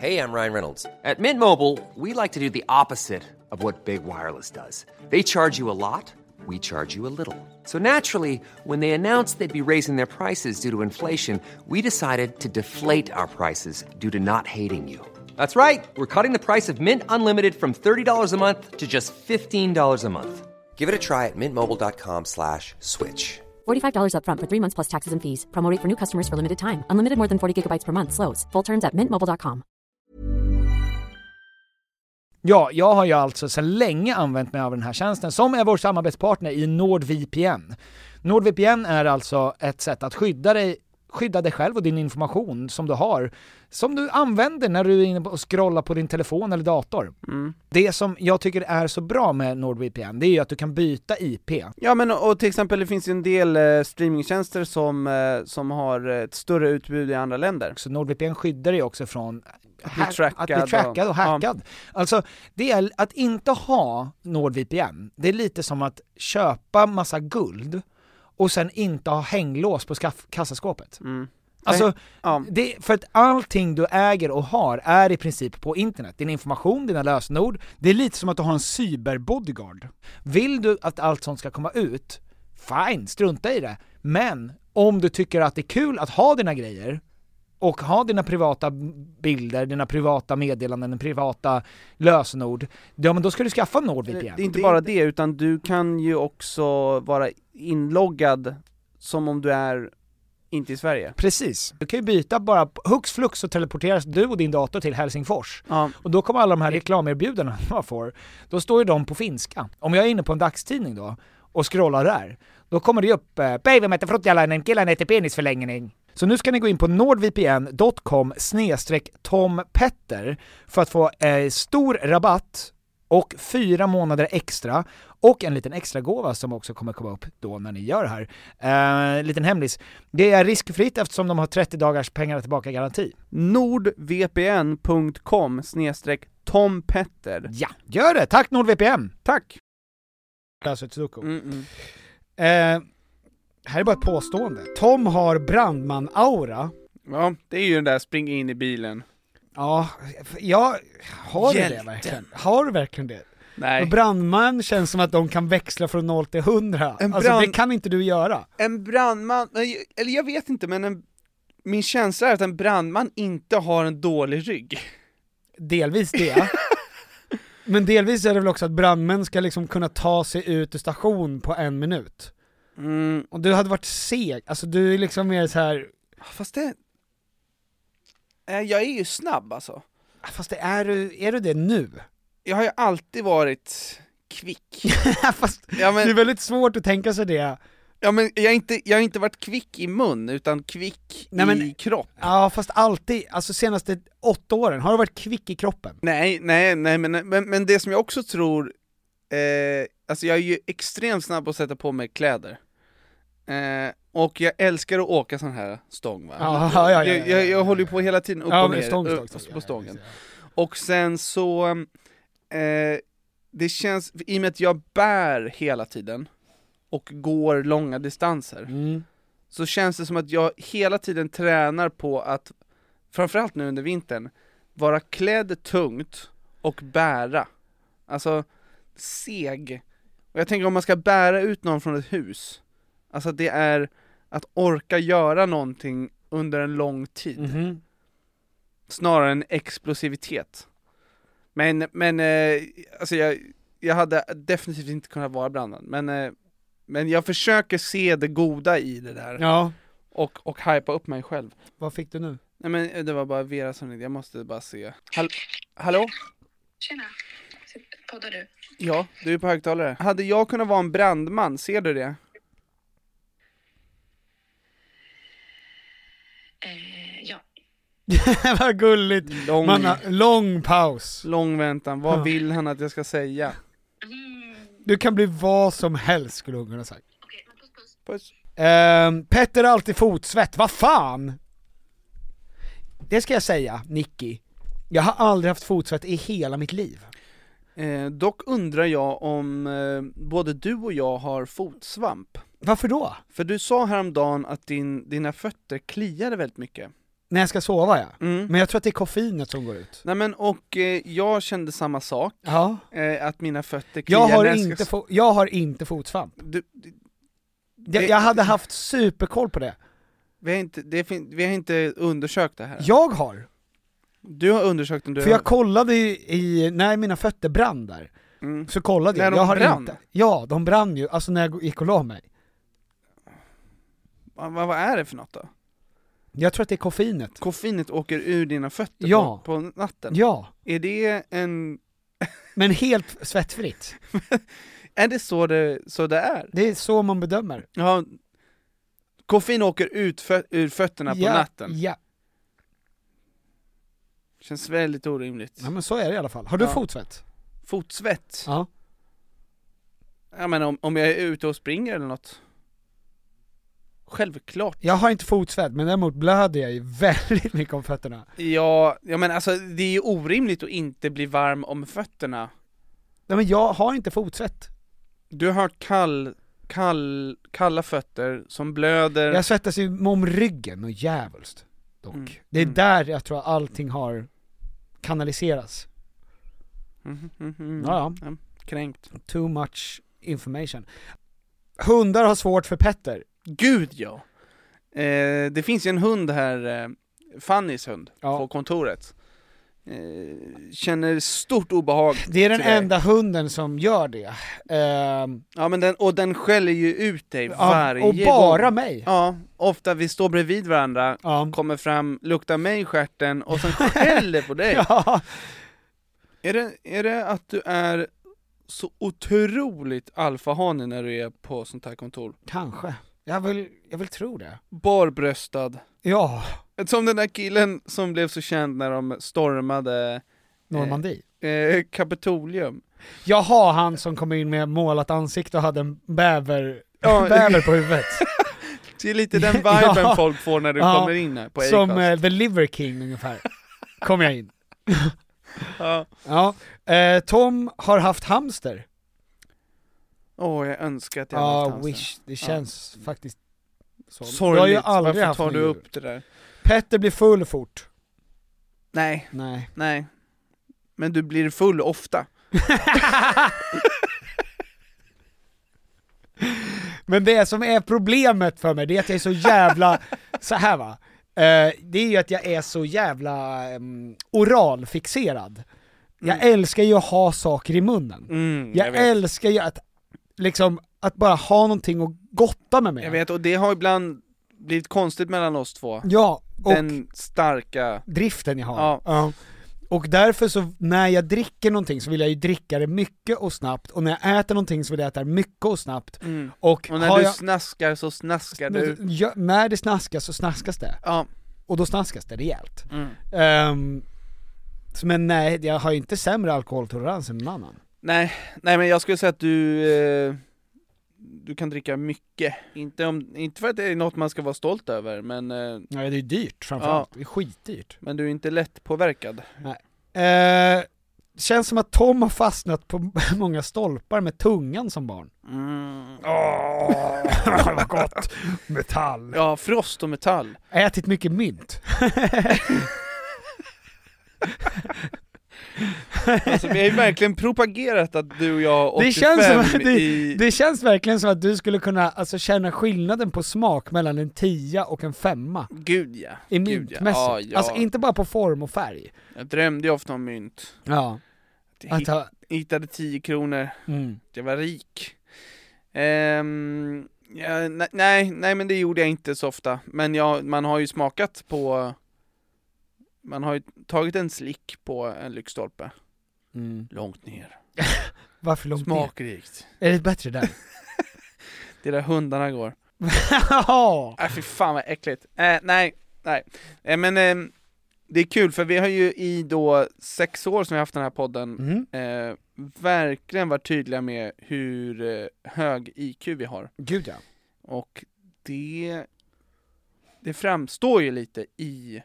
S1: Hey, I'm Ryan Reynolds. At Mint Mobile, we like to do the opposite of what Big Wireless does. They charge you a lot, we charge you a little. So naturally, when they announced they'd be raising their prices due to inflation, we decided to deflate our prices due to not hating you. That's right. We're cutting the price of Mint Unlimited from $30 a month to just $15 a month. Give it a try at mintmobile.com slash switch.
S2: $45 upfront for three months plus taxes and fees. Promo rate for new customers for limited time. Unlimited more than 40 gigabytes per month. Slows. Full terms at mintmobile.com.
S8: Ja, jag har ju alltså sedan länge använt mig av den här tjänsten som är vår samarbetspartner i NordVPN. NordVPN är alltså ett sätt att skydda dig, skydda dig själv och din information som du har, som du använder när du är inne och scrollar på din telefon eller dator. Det som jag tycker är så bra med NordVPN, det är ju att du kan byta IP.
S4: Ja men och till exempel det finns ju en del eh, streamingtjänster som, eh, som har ett större utbud i andra länder.
S8: Så NordVPN skyddar dig också från att
S4: bli
S8: att
S4: trackad
S8: bli
S4: och-
S8: trackad och hackad. Alltså, det är att inte ha NordVPN, det är lite som att köpa massa guld och sen inte ha hänglås på skaff- kassaskåpet. Alltså,
S4: Ja.
S8: det, för att allting du äger och har är i princip på internet. Din information, dina lösenord, det är lite som att du har en cyberbodyguard. Vill du att allt sånt ska komma ut, fine, strunta i det. Men om du tycker att det är kul att ha dina grejer, och ha dina privata bilder, dina privata meddelanden, dina privata lösenord, ja men då ska du skaffa NordVPN.
S4: Det är inte bara det, utan du kan ju också vara inloggad som om du är inte i Sverige.
S8: Precis. Du kan ju byta bara, hux flux så teleporteras du och din dator till Helsingfors.
S4: Ja.
S8: Och då kommer alla de här reklamerbjudandena man får, då står ju de på finska. Om jag är inne på en dagstidning då, och scrollar där, då kommer det ju upp eh, “Päivä mätte fruttjalainen, killen heter penisförlängning”. Så nu ska ni gå in på nordvpn.com tompetter för att få eh, stor rabatt och fyra månader extra och en liten extra gåva som också kommer komma upp då när ni gör det här. Eh, liten hemlis. Det är riskfritt eftersom de har 30 dagars pengarna tillbaka-garanti.
S4: nordvpn.com snedstreck tompetter.
S8: Ja, gör det! Tack NordVPN!
S4: Tack!
S3: Alltså ett sudoku.
S4: Mm -mm.
S3: Eh, här är bara ett påstående. Tom har brandman-aura.
S4: Ja, det är ju den där spring in i bilen.
S3: Ja, jag har du det
S4: Hjälten.
S3: verkligen. Har du verkligen det?
S4: Nej.
S3: Och brandman känns som att de kan växla från 0 till 100.
S4: En
S3: Alltså det
S4: brand-
S3: kan inte du göra.
S4: En brandman, nej, eller jag vet inte men en, min känsla är att en brandman inte har en dålig rygg.
S3: Delvis det. Men delvis är det väl också att brandmän ska liksom kunna ta sig ut ur station på en minut.
S4: Mm,
S3: Och du hade varit seg, alltså du är liksom mer så här.
S4: Ah, fast det... Eh, Jag är ju snabb alltså.
S3: "Ah, fast det är, du, är du det nu?
S4: Jag har ju alltid varit kvick.
S3: fast
S4: Ja
S3: det är
S4: men,
S3: väldigt svårt att tänka sig det.
S4: ja, men jag, har inte, jag har inte varit kvick i mun utan kvick
S3: Nej, men-
S4: i kropp.
S3: Ja fast alltid, alltså senaste åtta åren, har du varit kvick i kroppen?
S4: Nej, nej, nej, men, men, men det som jag också tror, eh, alltså jag är ju extremt snabb på att sätta på mig kläder. Eh, och jag älskar att åka sån här stång va?
S3: Ja, ja, ja, ja,
S4: jag, jag,
S3: ja, ja.
S4: jag håller ju på hela tiden upp
S3: Ja,
S4: och
S3: men
S4: ner
S3: stång,
S4: upp-
S3: stång, stång.
S4: på stången. Och sen så, eh, det känns, i och med att jag bär hela tiden och går långa distanser,
S3: Mm.
S4: så känns det som att jag hela tiden tränar på att, framförallt nu under vintern, vara klädd tungt och bära. Alltså, seg. Och jag tänker om man ska bära ut någon från ett hus, alltså det är att orka göra någonting under en lång tid,
S3: Mhm.
S4: snarare än explosivitet. Men, men, eh, alltså jag, jag hade definitivt inte kunnat vara brandman, men, eh, men jag försöker se det goda i det där
S3: Ja,
S4: och, och hypa upp mig själv.
S3: vad fick du nu?
S4: Nej men det var bara Vera som ringde, jag måste bara se. Hall Hallå?
S9: Tjena. Poddar du?
S4: Ja, du är på högtalare. Hade jag kunnat vara en brandman, ser du det?
S9: Eh, ja.
S3: vad gulligt!
S4: Lång,
S3: Man har, lång paus.
S4: lång väntan, vad
S3: Ja.
S4: vill han att jag ska säga?
S3: Du kan bli vad som helst skulle hon kunna sagt.
S9: Okej, men puss puss.
S4: Puss.
S3: Ehm, Petter har alltid fotsvett, vad fan! Det ska jag säga, Nicky. Jag har aldrig haft fotsvett i hela mitt liv.
S4: Eh, dock undrar jag om eh, både du och jag har fotsvamp.
S3: Varför då?
S4: För du sa häromdagen att din, dina fötter kliade väldigt mycket.
S3: När jag ska sova ja.
S4: Mm.
S3: Men jag tror att det är koffeinet som går ut.
S4: Nej men och eh, jag kände samma sak,
S3: Ja.
S4: eh, att mina fötter kliar
S3: Jag har,
S4: när ska-
S3: inte fo- jag har inte fotsvamp.
S4: du, du,
S3: Jag, jag hade haft superkoll på det.
S4: vi, har inte, det fin- vi har inte undersökt det här.
S3: Jag har!
S4: Du har undersökt om du
S3: För jag
S4: har...
S3: kollade i, i när mina fötter brann där,
S4: Mm.
S3: så kollade
S4: När
S3: jag.
S4: de
S3: jag har
S4: brann?
S3: Inte. Ja, de brann ju, alltså när jag gick och la mig.
S4: Vad, vad vad är det för något då?
S3: Jag tror att det är koffeinet.
S4: Koffeinet åker ur dina fötter
S3: Ja.
S4: på, på natten.
S3: Ja,
S4: Är det en...
S3: men helt svettfritt.
S4: Är det så det, så det är?
S3: Det är så man bedömer.
S4: Ja. Koffein åker ut fö- ur fötterna
S3: ja,
S4: på natten.
S3: Ja.
S4: Känns väldigt orimligt.
S3: ja, men så är det i alla fall. Har du
S4: Ja.
S3: fotsvett?
S4: Fotsvett?
S3: Ja.
S4: Ja men om, om jag är ute och springer eller något? Självklart.
S3: Jag har inte fotsvett, men däremot blöder jag ju väldigt mycket om fötterna.
S4: Ja, ja men alltså det är ju orimligt att inte bli varm om fötterna.
S3: Nej men jag har inte fotsvett.
S4: Du har kall, kall, kalla fötter som blöder.
S3: Jag svettas ju om ryggen och jävulst dock.
S4: Mm.
S3: Det är
S4: Mm.
S3: där jag tror att allting har kanaliseras.
S4: Mhm, mhm, mhm.
S3: Ja, ja.
S4: Kränkt.
S3: Too much information. Hundar har svårt för Petter.
S4: Gud ja! Eh, det finns ju en hund här, eh, Fannys hund,
S3: Ja.
S4: på kontoret. Eh, känner stort obehag.
S3: Det är den
S4: Tyvärr.
S3: enda hunden som gör det. Ehm,
S4: Ja men den, och den skäller ju ut dig
S3: ja,
S4: varje
S3: och bara
S4: gång.
S3: mig.
S4: Ja, ofta vi står bredvid varandra,
S3: Ja.
S4: kommer fram, luktar mig i stjärten och sen skäller på dig.
S3: Ja.
S4: Är, det, är det att du är så otroligt alfahane när du är på sånt här kontor?
S3: Kanske. Jag vill, jag vill tro det.
S4: Barbröstad.
S3: Ja,
S4: Som den där killen som blev så känd när de stormade
S3: Normandie.
S4: eh, Kapitolium.
S3: Jag har han som kom in med målat ansikte och hade en bäver,
S4: Ja.
S3: bäver på huvudet.
S4: Det är lite den viben
S3: Ja.
S4: folk får när du
S3: Ja.
S4: kommer in här på Acast.
S3: som eh, The Liver King ungefär. Kom jag in.
S4: Ja.
S3: Ja. Eh, Tom har haft hamster.
S4: Åh, jag önskar att jag hade haft
S3: Ja,
S4: hamster.
S3: wish. Det känns faktiskt så.
S4: Sorgligt,
S3: Du har ju aldrig
S4: varför
S3: haft
S4: tar
S3: något
S4: du
S3: djur.
S4: upp det där?
S3: Petter blir full fort.
S4: Nej,
S3: Nej.
S4: nej. Men du blir full ofta.
S3: Men det som är problemet för mig, det är att jag är så jävla, så här va. Eh, det är ju att jag är så jävla um, oralfixerad. Jag älskar ju att ha saker i munnen.
S4: Mm,
S3: jag
S4: vet.
S3: älskar ju att, liksom, att bara ha någonting att gotta med mig.
S4: Jag vet, och det har ibland blivit konstigt mellan oss två.
S3: Ja, och
S4: Den starka...
S3: driften jag har.
S4: Ja.
S3: Och därför så, när jag dricker någonting så vill jag ju dricka det mycket och snabbt, och när jag äter någonting så vill jag äta det mycket och snabbt. Och,
S4: Mm. Och när
S3: har
S4: du
S3: jag...
S4: snaskar så snaskar du.
S3: Ja, när det snaskas så snaskas det.
S4: Ja,
S3: och då snaskas det rejält.
S4: Mm.
S3: Ehm, så men nej, jag har ju inte sämre alkoholtolerans än någon annan.
S4: nej, nej men jag skulle säga att du... Eh, du kan dricka mycket. Inte, om, inte för att det är något man ska vara stolt över, men, eh,
S3: Nej, det är dyrt
S4: Ja.
S3: framförallt. Det är skitdyrt.
S4: men du är inte lätt påverkad.
S3: Eh, känns som att Tom har fastnat på många stolpar med tungan som barn.
S4: Mm.
S3: Åh, vad gott! Metall.
S4: Ja, frost och metall.
S3: Ätit mycket mynt.
S4: Alltså, vi har ju verkligen propagerat att du och jag 85
S3: Det känns, som att, det,
S4: i...
S3: det känns verkligen som att du skulle kunna alltså, känna skillnaden på smak mellan en tia och en femma.
S4: Gud ja.
S3: I
S4: Gud, ja. Ja,
S3: myntmässigt.
S4: ja.
S3: Alltså inte bara på form och färg.
S4: Jag drömde ju ofta om mynt.
S3: Ja.
S4: Jag
S3: Att
S4: hitt,
S3: ha,
S4: hittade 10 kronor.
S3: mm.
S4: Jag var rik. Ehm, ja, ne- nej, nej men det gjorde jag inte så ofta. Men jag, man har ju smakat på... Man har ju tagit en slick på en lyktstolpe.
S3: mm.
S4: Långt ner.
S3: Varför långt ner?
S4: Smakrikt.
S3: Är det bättre där?
S4: Det är där hundarna går.
S3: Ja.
S4: Äh, fy fan vad äckligt. Eh, nej, nej. Eh, men ehm, det är kul för vi har ju i då sex år som vi har haft den här podden
S3: Mm.
S4: eh, verkligen varit tydliga med hur eh, hög IQ vi har.
S3: Gud ja.
S4: Och det, det framstår ju lite i,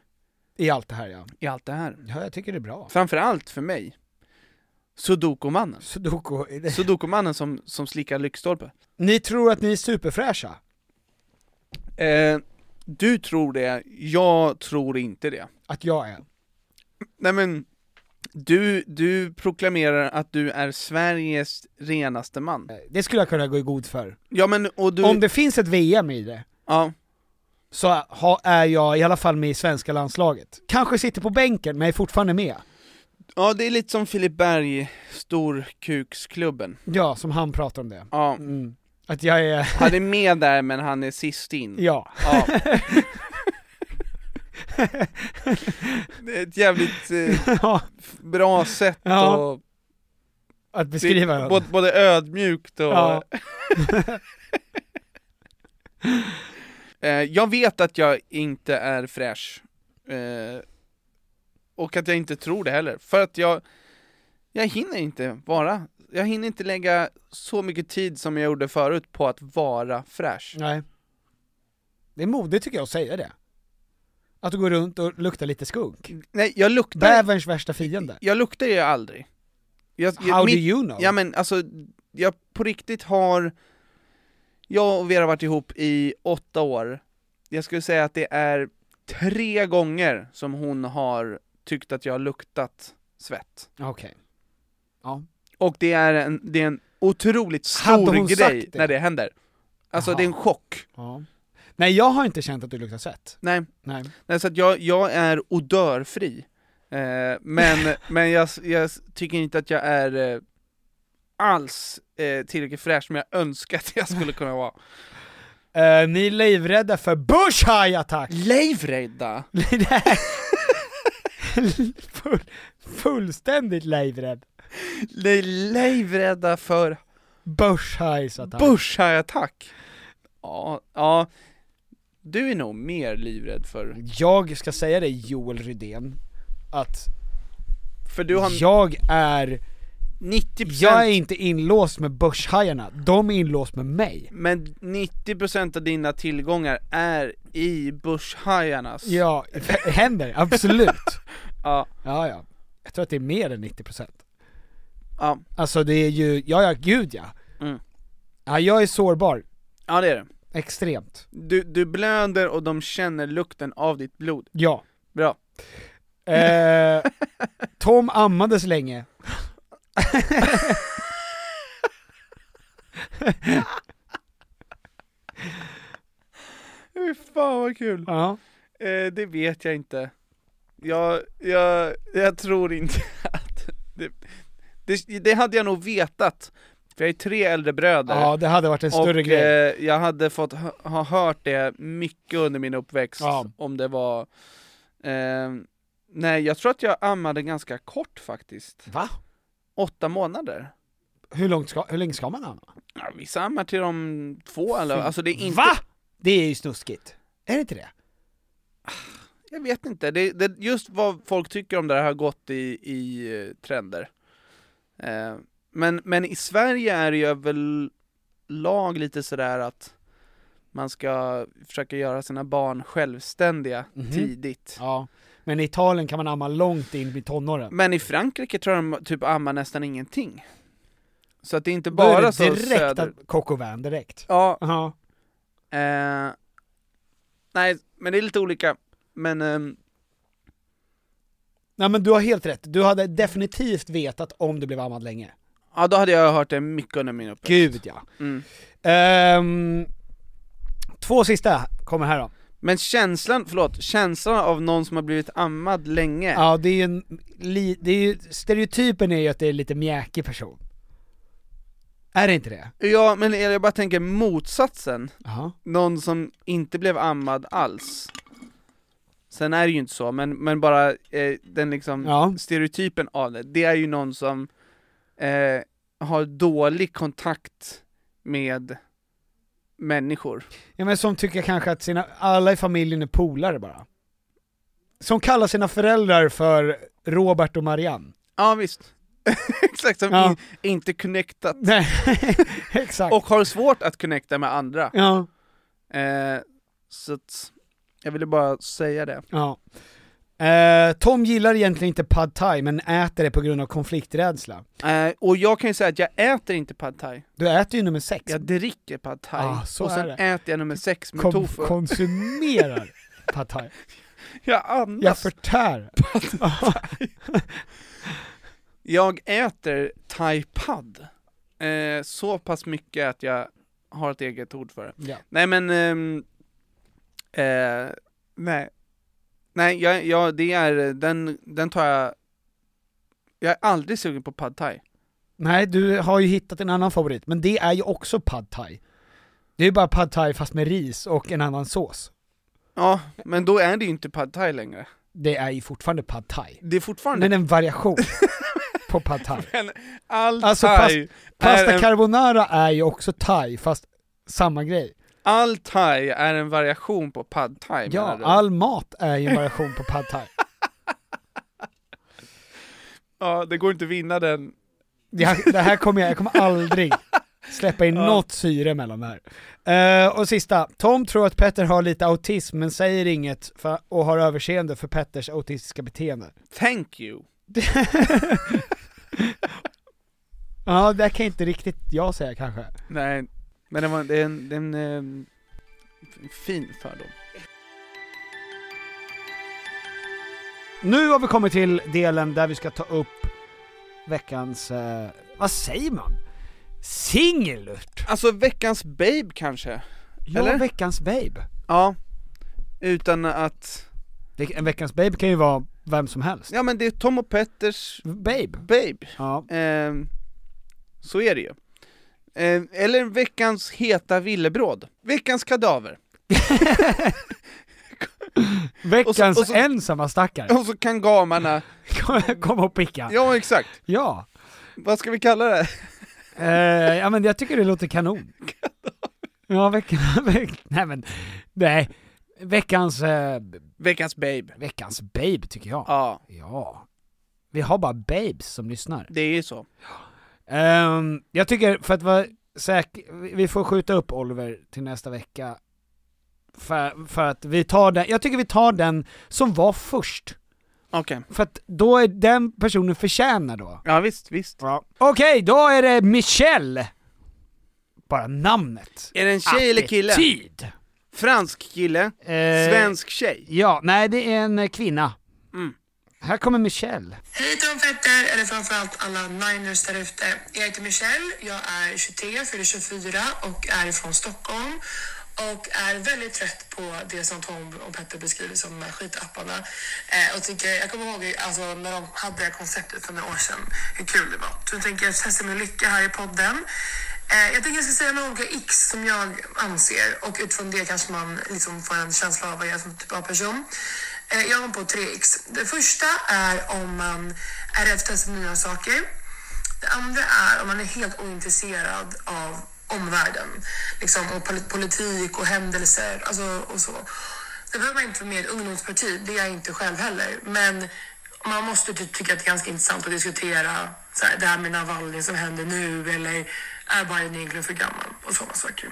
S3: I allt det här ja.
S4: i allt det här.
S3: Ja, jag tycker det är bra.
S4: Framförallt för mig. Sudokumannen.
S3: Sudoku. är det-
S4: Sudokumannen som, som slickar lyktstolpe.
S3: Ni tror att ni är superfräscha?
S4: Eh, du tror det, jag tror inte det.
S3: Att jag är?
S4: Nej men, du, du proklamerar att du är Sveriges renaste man.
S3: Det skulle jag kunna gå i god för.
S4: Ja men, och du...
S3: Om det finns ett VM i det,
S4: ja,
S3: så ha, är jag i alla fall med i svenska landslaget. Kanske sitter på bänken, men är fortfarande med.
S4: ja, det är lite som Filip Berg, Storkuksklubben.
S3: Ja, som han pratar om det.
S4: Ja,
S3: Mm. Att jag är,
S4: han är med där men han är sist in.
S3: ja.
S4: Ja. Det är ett jävligt eh,
S3: Ja,
S4: bra sätt
S3: Ja,
S4: och
S3: att beskriva
S4: både, både ödmjukt och...
S3: Ja.
S4: Eh, jag vet att jag inte är fräsch. Eh, och att jag inte tror det heller. För att jag, jag hinner inte vara, jag hinner inte lägga så mycket tid som jag gjorde förut på att vara fräsch.
S3: Nej. Det är modigt tycker jag att säga det. Att du går runt och luktar lite skunk.
S4: Nej, jag luktar,
S3: Bäverns värsta fiende.
S4: jag luktar ju aldrig. Jag, jag-
S3: How do
S4: mitt-
S3: you know?
S4: Ja men alltså, jag på riktigt har, jag och Vera har varit ihop i åtta år, jag skulle säga att det är tre gånger som hon har tyckt att jag har luktat svett.
S3: Okej.
S4: Och det är en, det är en otroligt
S3: Hade
S4: stor
S3: hon sagt
S4: grej
S3: det?
S4: när det händer. Alltså
S3: Jaha.
S4: det är en chock.
S3: Ja. Nej jag har inte känt att du luktar svett.
S4: Nej,
S3: Nej.
S4: Nej så att jag, jag är odörfri. Eh, men men jag, jag tycker inte att jag är eh, alls eh, tillräckligt fräsch som jag önskar att jag skulle kunna vara.
S3: Eh, ni är livrädda för bush high attack!
S4: Livrädda!
S3: Full, fullständigt livrädd.
S4: Nej, livrädda för
S3: Bush high attack.
S4: Bushhajattack! Ja, ja. Du är nog mer livrädd för...
S3: jag ska säga det Joel Rydén, att
S4: För du har...
S3: jag är
S4: 90%
S3: Jag är inte inlåst med börshajarna, de är inlåst med mig.
S4: Men 90% av dina tillgångar är i börshajarnas
S3: Ja, det händer, absolut.
S4: ja,
S3: Ja, ja. Jag tror att det är mer än 90%.
S4: ja,
S3: Alltså det är ju, ja ja, gud ja.
S4: Mm.
S3: ja jag är sårbar,
S4: ja det är det
S3: extremt.
S4: du, du blöder och de känner lukten av ditt blod,
S3: Ja.
S4: bra
S3: Eh, Tom ammades länge.
S4: Fy fan vad kul!
S3: Ja.
S4: Eh, det vet jag inte jag, jag, jag tror inte att det, det, det hade jag nog vetat, för jag är tre äldre bröder
S3: ja, det hade varit en större
S4: och,
S3: grej.
S4: Eh, jag hade fått hö- ha hört det mycket under min uppväxt,
S3: Ja.
S4: om det var... Eh, nej, jag tror att jag ammade ganska kort faktiskt.
S3: Va?
S4: Åtta månader.
S3: Hur, långt ska, hur länge ska man amma?
S4: Ja, vissa ammar till de två eller, alltså det är inte...
S3: Va? Det är ju snuskigt. Är det inte det?
S4: Jag vet inte, det, det, just vad folk tycker om det här har gått i, i eh, trender. Eh, men, men i Sverige är det ju överlag lite sådär att man ska försöka göra sina barn självständiga tidigt.
S3: Mhm. Ja. Men i Italien kan man amma långt in i tonåren.
S4: Men i Frankrike tror jag de typ ammar nästan ingenting. Så att det är inte
S3: Då är
S4: bara
S3: det
S4: så
S3: direkt
S4: söder...
S3: att Coco Van direkt.
S4: Ja,
S3: Ja.
S4: eh, nej, men det är lite olika. Men ehm,
S3: Nej men du har helt rätt, du hade definitivt vetat om du blev ammad länge.
S4: ja, då hade jag hört det mycket under min uppväxt.
S3: Gud ja.
S4: Mm.
S3: Ehm, två sista kommer här då.
S4: Men känslan, förlåt, känslan av någon som har blivit ammad länge.
S3: Ja det är ju en, li, det är ju, stereotypen är ju att det är lite mjäkig person. Är det inte det?
S4: Ja, men jag bara tänker motsatsen.
S3: Ja.
S4: Någon som inte blev ammad alls. Sen är det ju inte så, men, men bara eh, den liksom
S3: Ja.
S4: stereotypen av det, det är ju någon som eh, har dålig kontakt med människor.
S3: ja men som tycker kanske att sina, alla i familjen är polare bara. Som kallar sina föräldrar för Robert och Marianne.
S4: Ja visst. Exakt, som
S3: Ja.
S4: in, inte connectat.
S3: Nej, exakt.
S4: Och har svårt att connecta med andra.
S3: Ja.
S4: Eh, så att, jag ville bara säga det.
S3: Ja. Eh, Tom gillar egentligen inte pad thai men äter det på grund av konflikträdsla.
S4: Eh, och jag kan ju säga att jag äter inte pad thai,
S3: Du äter ju nummer sex.
S4: jag dricker pad thai,
S3: Ah, så
S4: och
S3: är
S4: sen
S3: det.
S4: äter jag nummer sex med
S3: Kom,
S4: tofu.
S3: konsumerar pad thai.
S4: Jag andas
S3: Jag förtär.
S4: Jag äter thaipad eh, så pass mycket att jag har ett eget ord för det.
S3: Ja.
S4: Nej men, ehm, eh, nej. Nej, jag, jag, det är, den, den tar jag, jag är aldrig sugen på pad thai.
S3: Nej, du har ju hittat en annan favorit, men det är ju också pad thai. Det är ju bara pad thai fast med ris och en annan sås.
S4: Ja, men då är det ju inte pad thai längre.
S3: Det är ju fortfarande pad thai.
S4: Det är fortfarande
S3: Men en variation på pad thai.
S4: Men all
S3: Alltså,
S4: thai Äh, är
S3: Pasta
S4: en,
S3: carbonara är ju också thai, fast samma grej.
S4: all thai är en variation på pad thai menar
S3: Ja,
S4: du?
S3: all mat är ju en variation på pad thai.
S4: ja, det går inte att vinna den.
S3: Det här, det här kommer jag, jag kommer aldrig släppa in något syre mellan det här. Eh, och sista, Tom tror att Petter har lite autism men säger inget för, och har överseende för Petters autistiska beteende.
S4: Thank you.
S3: Ja, det kan inte riktigt jag säga kanske.
S4: Nej, men det, var, det är en, det är en ehm, f- fin fördom.
S3: Nu har vi kommit till delen där vi ska ta upp veckans, eh, vad säger man? Singelt!
S4: Alltså veckans babe kanske?
S3: Ja,
S4: Eller?
S3: veckans babe.
S4: Ja. Utan att,
S3: Det, en veckans babe kan ju vara vem som helst.
S4: ja men det är Tom och Petters
S3: Babe.
S4: babe.
S3: Ja.
S4: Ehm, så är det ju. Ehm, eller veckans heta villebråd. Veckans kadaver.
S3: Veckans
S4: och så-
S3: ensamma stackare.
S4: Och så kan gamarna,
S3: Kom- Kom och picka.
S4: ja exakt.
S3: ja.
S4: Vad ska vi kalla det?
S3: Eh, ja men jag tycker det låter kanon. Ja, veckan, veck, nej men, nej. Veckans, eh,
S4: Veckans babe.
S3: veckans babe tycker jag.
S4: Ja,
S3: Ja. Vi har bara babes som lyssnar.
S4: det är ju så.
S3: Ehm, jag tycker, för att vara säker, vi- vi får skjuta upp Oliver till nästa vecka. För, för att vi tar den, jag tycker vi tar den som var först.
S4: Okej.
S3: För att då är den personen förtjänar då.
S4: Ja visst, visst.
S3: Okej, då är det Michelle! Bara namnet.
S4: Är det en tjej eller kille?
S3: Attityd!
S4: Fransk kille?
S3: Eh,
S4: Svensk tjej?
S3: Ja, nej det är en eh, kvinna.
S4: Mm.
S3: Här kommer Michelle.
S10: Hej Tomfetter, eller framförallt alla niners där ute. Jag heter Michelle, jag är 23, fyller 24 och är ifrån Stockholm och är väldigt trött på det som Tom och Petter beskriver som de här skitapparna. Eh, och tycker, jag kommer ihåg alltså, när de hade det här konceptet för några år sedan, hur kul det var. Så nu tänker jag testa min lycka här i podden. Eh, jag tänker jag ska säga några olika x som jag anser och utifrån det kanske man liksom får en känsla av vad jag är som typ av person. Eh, jag har på tre x. Det första är om ehm, man är rädd för att testa nya saker. Det andra är om man är helt ointresserad av omvärlden liksom, och pol- politik och händelser alltså, och så. Det behöver man inte vara med i ett ungdomsparti, det är jag inte själv heller. Men man måste ty- tycka att det är ganska intressant att diskutera så här, det här med Navalny som händer nu eller är Biden egentligen för gammal och sådana saker.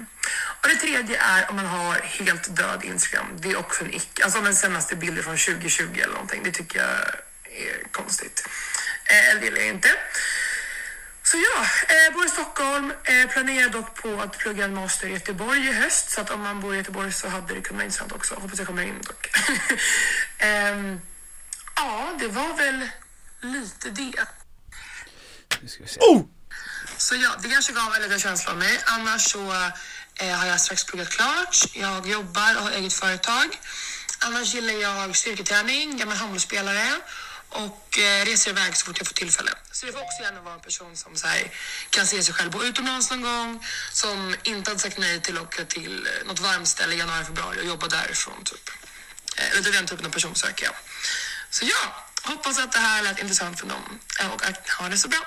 S10: Och det tredje är om man har helt död Instagram. Det är också en ick. Alltså om den senaste bilden från 2020 eller någonting. Det tycker jag är konstigt. Eh, Eller det gillar jag inte. Så ja, eh, bor i Stockholm, eh, planerar dock på att plugga en master i Göteborg i höst. Så att om man bor i Göteborg så hade det kunnat vara intressant också. Hoppas jag kommer in dock. Ehm, ja, det var väl lite det. Så ja, det kanske gav en liten känsla av mig. Annars så eh, har jag strax pluggat klart. Jag jobbar och har eget företag. Annars gillar jag styrketräning, jag är handbollsspelare och eh, reser iväg så fort jag får tillfälle. Så det får också gärna vara en person som så här, kan se sig själv bo utomlands någon gång, som inte hade sagt nej till att åka till eh, något varmt ställe i januari, februari och jobba därifrån typ. Eh, Lite den typen av person söker jag. Så ja, hoppas att det här lät intressant för någon eh, och att ha det så bra.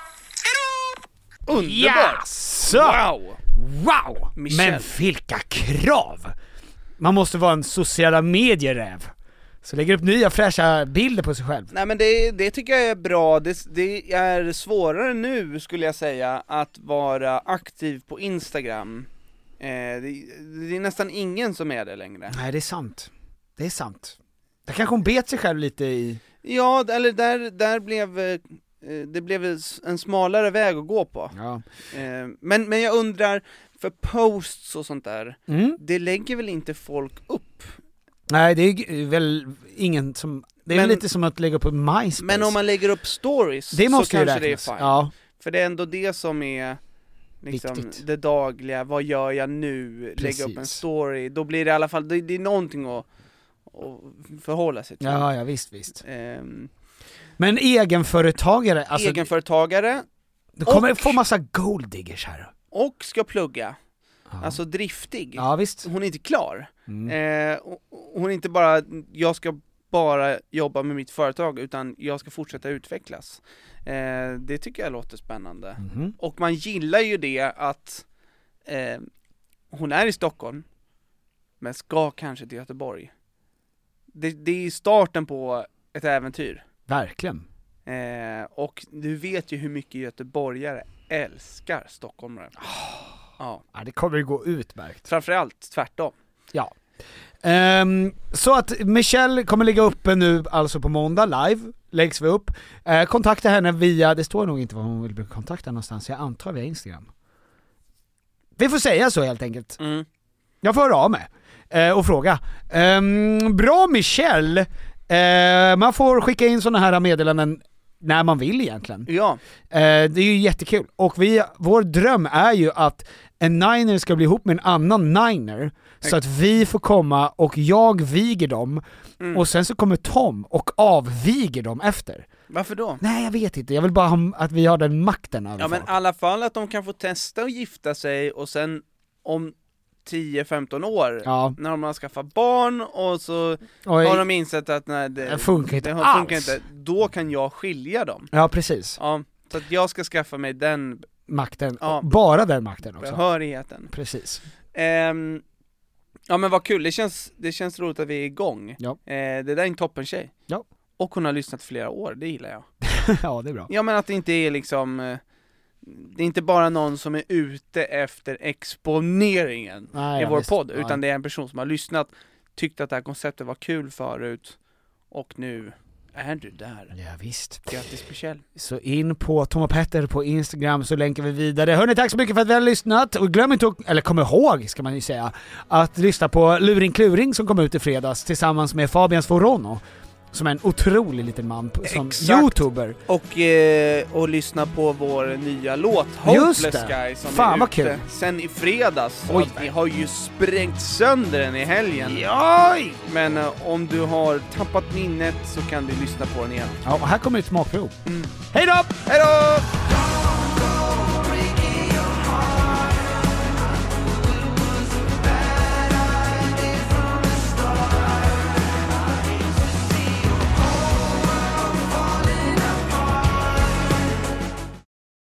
S10: Hej då!
S4: Underbart!
S3: Jaså!
S4: Wow!
S3: Wow!
S4: Michelle.
S3: Men vilka krav! Man måste vara en sociala medieräv. Så lägger upp nya fräscha bilder på sig själv.
S4: Nej men det, det tycker jag är bra, det, det är svårare nu skulle jag säga att vara aktiv på Instagram eh, det, det är nästan ingen som är det längre.
S3: Nej det är sant. Det är sant. Där kanske hon bet sig själv lite i...
S4: Ja, d- eller där, där blev eh, eh, det blev s- en smalare väg att gå på.
S3: Ja.
S4: Eh, Men, men jag undrar, för posts och sånt där,
S3: Mm.
S4: det lägger väl inte folk upp?
S3: Nej det är ju väl ingen som... Det är
S4: Men-
S3: väl lite som att lägga upp på MySpace.
S4: Men om man lägger upp stories
S3: det måste
S4: så
S3: ju
S4: kanske
S3: räknas.
S4: det är fine.
S3: Ja.
S4: För det är ändå det som är liksom
S3: Viktigt.
S4: det dagliga, vad gör jag nu, lägga upp en
S3: Precis.
S4: story, då blir det i alla fall, det, det är någonting att, att förhålla sig till.
S3: ja, ja visst visst.
S4: Ehm,
S3: Men egenföretagare, alltså
S4: egenföretagare
S3: du kommer
S4: och-
S3: få massa gold diggers här.
S4: och ska plugga, alltså driftig.
S3: Ja visst.
S4: Hon är inte klar. Eh, och- och hon är inte bara, jag ska bara jobba med mitt företag utan jag ska fortsätta utvecklas. Eh, det tycker jag låter spännande.
S3: Mhm.
S4: Och man gillar ju det att eh, hon är i Stockholm, men ska kanske till Göteborg. Det, det är starten på ett äventyr.
S3: Verkligen.
S4: Eh, och du vet ju hur mycket göteborgare älskar stockholmare. Ja,
S3: Ja, det kommer ju gå utmärkt.
S4: framförallt tvärtom.
S3: Ja. Ehm, så att Michelle kommer ligga uppe nu alltså på måndag live, läggs vi upp. Eh, kontakta henne via, det står nog inte vad hon vill bli kontaktad någonstans, jag antar via Instagram. Vi får säga så helt enkelt.
S4: Mm.
S3: Jag får höra av mig eh, och fråga. Ehm, bra Michelle! Eh, man får skicka in sådana här meddelanden när man vill egentligen.
S4: Ja,
S3: Eh, det är ju jättekul. Och vi, vår dröm är ju att en niner ska bli ihop med en annan niner, så att vi får komma och jag viger dem,
S4: Mm.
S3: och sen så kommer Tom och avviger dem efter.
S4: varför då?
S3: Nej jag vet inte, jag vill bara ha, att vi har den makten över
S4: Ja men i
S3: folk.
S4: alla fall att de kan få testa att gifta sig och sen om 10-15 år,
S3: Ja.
S4: när de har skaffat barn och så
S3: Och,
S4: har de insett att nej, det,
S3: Det funkar inte
S4: det har- funkar
S3: alls.
S4: inte, då kan jag skilja dem.
S3: Ja precis,
S4: Ja, så att jag ska skaffa mig den
S3: makten.
S4: Ja.
S3: Bara den makten också.
S4: behörigheten.
S3: Precis.
S4: Ehm, ja men vad kul, det känns, det känns roligt att vi är igång.
S3: Ja.
S4: Eh, det där är en toppen tjej.
S3: Ja.
S4: Och hon har lyssnat flera år, det gillar jag.
S3: ja det är bra.
S4: Ja men att det inte är liksom eh, det är inte bara någon som är ute efter exponeringen
S3: Nej,
S4: i
S3: ja,
S4: vår
S3: visst.
S4: podd,
S3: Ja.
S4: utan det är en person som har lyssnat, tyckt att det här konceptet var kul förut, och nu är du där.
S3: Ja, visst.
S4: Grattis Michel.
S3: Så in på Tom och Petter på Instagram så länkar vi vidare. Hörni, tack så mycket för att vi har lyssnat. Och glöm inte, att, eller kom ihåg ska man ju säga, att lyssna på Luring Kluring som kom ut i fredags tillsammans med Fabian Svorono. Som är en otrolig liten man på- som
S4: Exakt.
S3: youtuber.
S4: Och, eh, och lyssna på vår nya låt Hopeless
S3: Just det.
S4: Guy som
S3: Fan,
S4: är
S3: vad
S4: ute
S3: kul.
S4: sen i fredags.
S3: Oj.
S4: Oj. Ni har ju sprängt sönder den i helgen.
S3: Joj!
S4: Men eh, om du har tappat minnet så kan du lyssna på den igen.
S3: Ja, och här kommer ett smakprov. Hej då!
S4: Hej då!